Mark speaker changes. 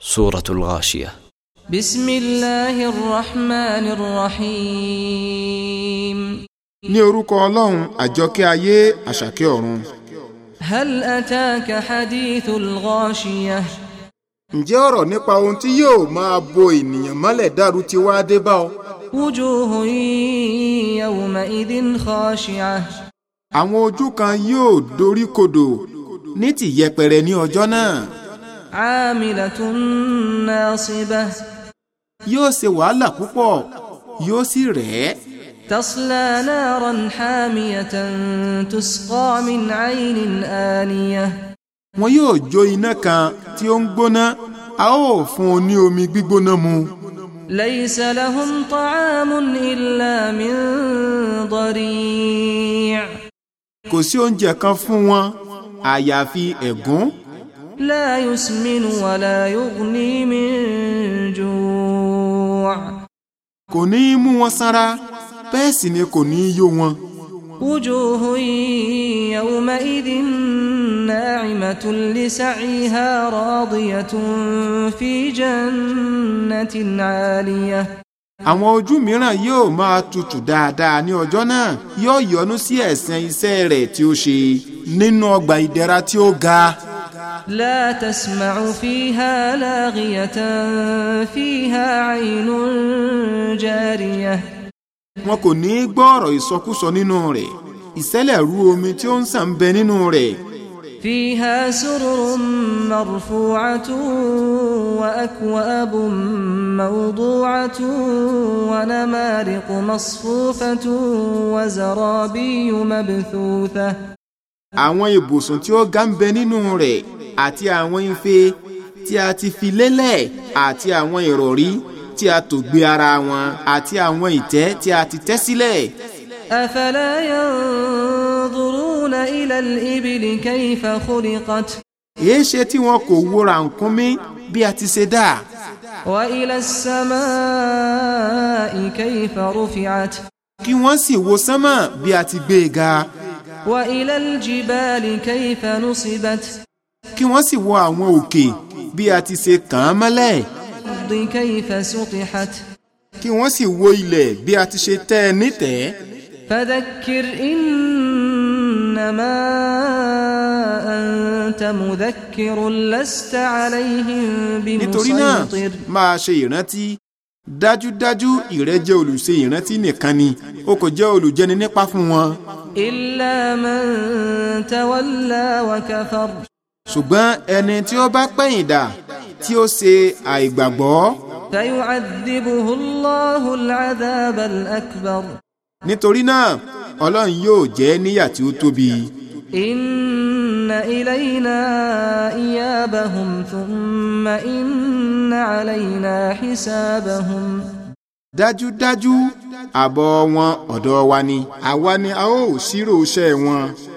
Speaker 1: سورة الغاشية
Speaker 2: بسم الله الرحمن الرحيم
Speaker 3: ní orúkọ ọlọ́run àjọkẹ́ ayé àṣàkẹ́ ọ̀run
Speaker 2: هل أتاك حديث الغاشية
Speaker 3: ǹjẹ́ ọ̀rọ̀ nípa ohun tí yóò máa bo ènìyàn mọ́lẹ̀ dàrú ti wá dé bá ọ.
Speaker 2: وجوه يومئذ خاشعة
Speaker 3: àwọn ojú kan yóò dorí kodò ní ti yẹpẹrẹ ní ọjọ́ náà
Speaker 2: عاملة ناصبة
Speaker 3: yóò ṣe wàhálà púpọ̀ yóò sì rẹ̀ ẹ́.
Speaker 2: تصلى نارا حامية تسقى من عين آنية
Speaker 3: wọn yóò jó iná kan tí ó ń gbóná a ó fún un ní omi gbígbóná mu.
Speaker 2: ليس لهم طعام إلا من ضريع
Speaker 3: kò sí oúnjẹ kan fún wọn àyàfi ẹ̀gún
Speaker 2: لا يسمن ولا يغني من جوع
Speaker 3: kò ní í mú wọn sanra bẹ́ẹ̀ sì ni kò ní í yó wọn.
Speaker 2: وجوه يومئذ ناعمة لسعيها راضية في جنة عالية
Speaker 3: àwọn ojú mìíràn yóò máa tutù dáadáa ní ọjọ́ náà yóò yọ́nú sí ẹ̀san iṣẹ́ rẹ̀ tí ó ṣe nínú ọgbà ìdẹ̀ra tí ó ga.
Speaker 2: لا تسمع فيها لاغية فيها عين جارية
Speaker 3: wọn kò ní í gbọ́ ọ̀rọ̀ ìsọkúsọ nínú rẹ̀ ìṣẹ̀lẹ̀ rú omi tí ó ń sàn bẹ nínú rẹ̀
Speaker 2: فيها سرر مرفوعة وأكواب موضوعة ونمارق مصفوفة وزرابي مبثوثة
Speaker 3: àwọn ibùsùn tí ó ga ń bẹ nínú rẹ̀ àti àwọn ife tí a ti fi lélẹ̀ àti àwọn ìrọ̀rí tí a tò gbé ara wọn àti àwọn ìtẹ́ tí a ti tẹ́ sílẹ̀.
Speaker 2: أفلا ينظرون إلى الإبل كيف خلقت
Speaker 3: èéṣe tí wọn kò wo rànkúnmí bí a ti ṣe dá
Speaker 2: وإلى السماء كيف رفعت
Speaker 3: kí wọ́n sì wo sánmà bí a ti gbé e ga
Speaker 2: وإلى الجبال كيف نصبت
Speaker 3: kí wọ́n sì wo àwọn òkè bí a ti ṣe kàn án mọ́lẹ̀
Speaker 2: الأرض كيف سطحت
Speaker 3: kí wọ́n sì wo ilẹ̀ bí a ti ṣe tẹ́ ẹ nítẹ̀ẹ́
Speaker 2: فذكر إنما أنت مذكر لست عليهم
Speaker 3: nítorí náà
Speaker 2: بمسيطر
Speaker 3: máa ṣe ìrántí dájúdájú ìrẹ́ jẹ́ olùṣe ìrántí nìkan ni o kò jẹ́ olùjẹni nípa fún wọn
Speaker 2: إلا من تولى وكفر
Speaker 3: ṣùgbọ́n ẹni tí ó bá pẹ̀yìn dà tí ó ṣe àìgbàgbọ́
Speaker 2: فيعذبه الله العذاب الأكبر
Speaker 3: nítorí náà ọlọ́run yóò jẹ́ níyà tí ó tóbi.
Speaker 2: إن إلينا إيابهم ثم إن علينا حسابهم
Speaker 3: dájúdájú àbọ̀ wọn ọ̀dọ̀ wa ni àwa ni a ó ṣírò iṣẹ́ wọn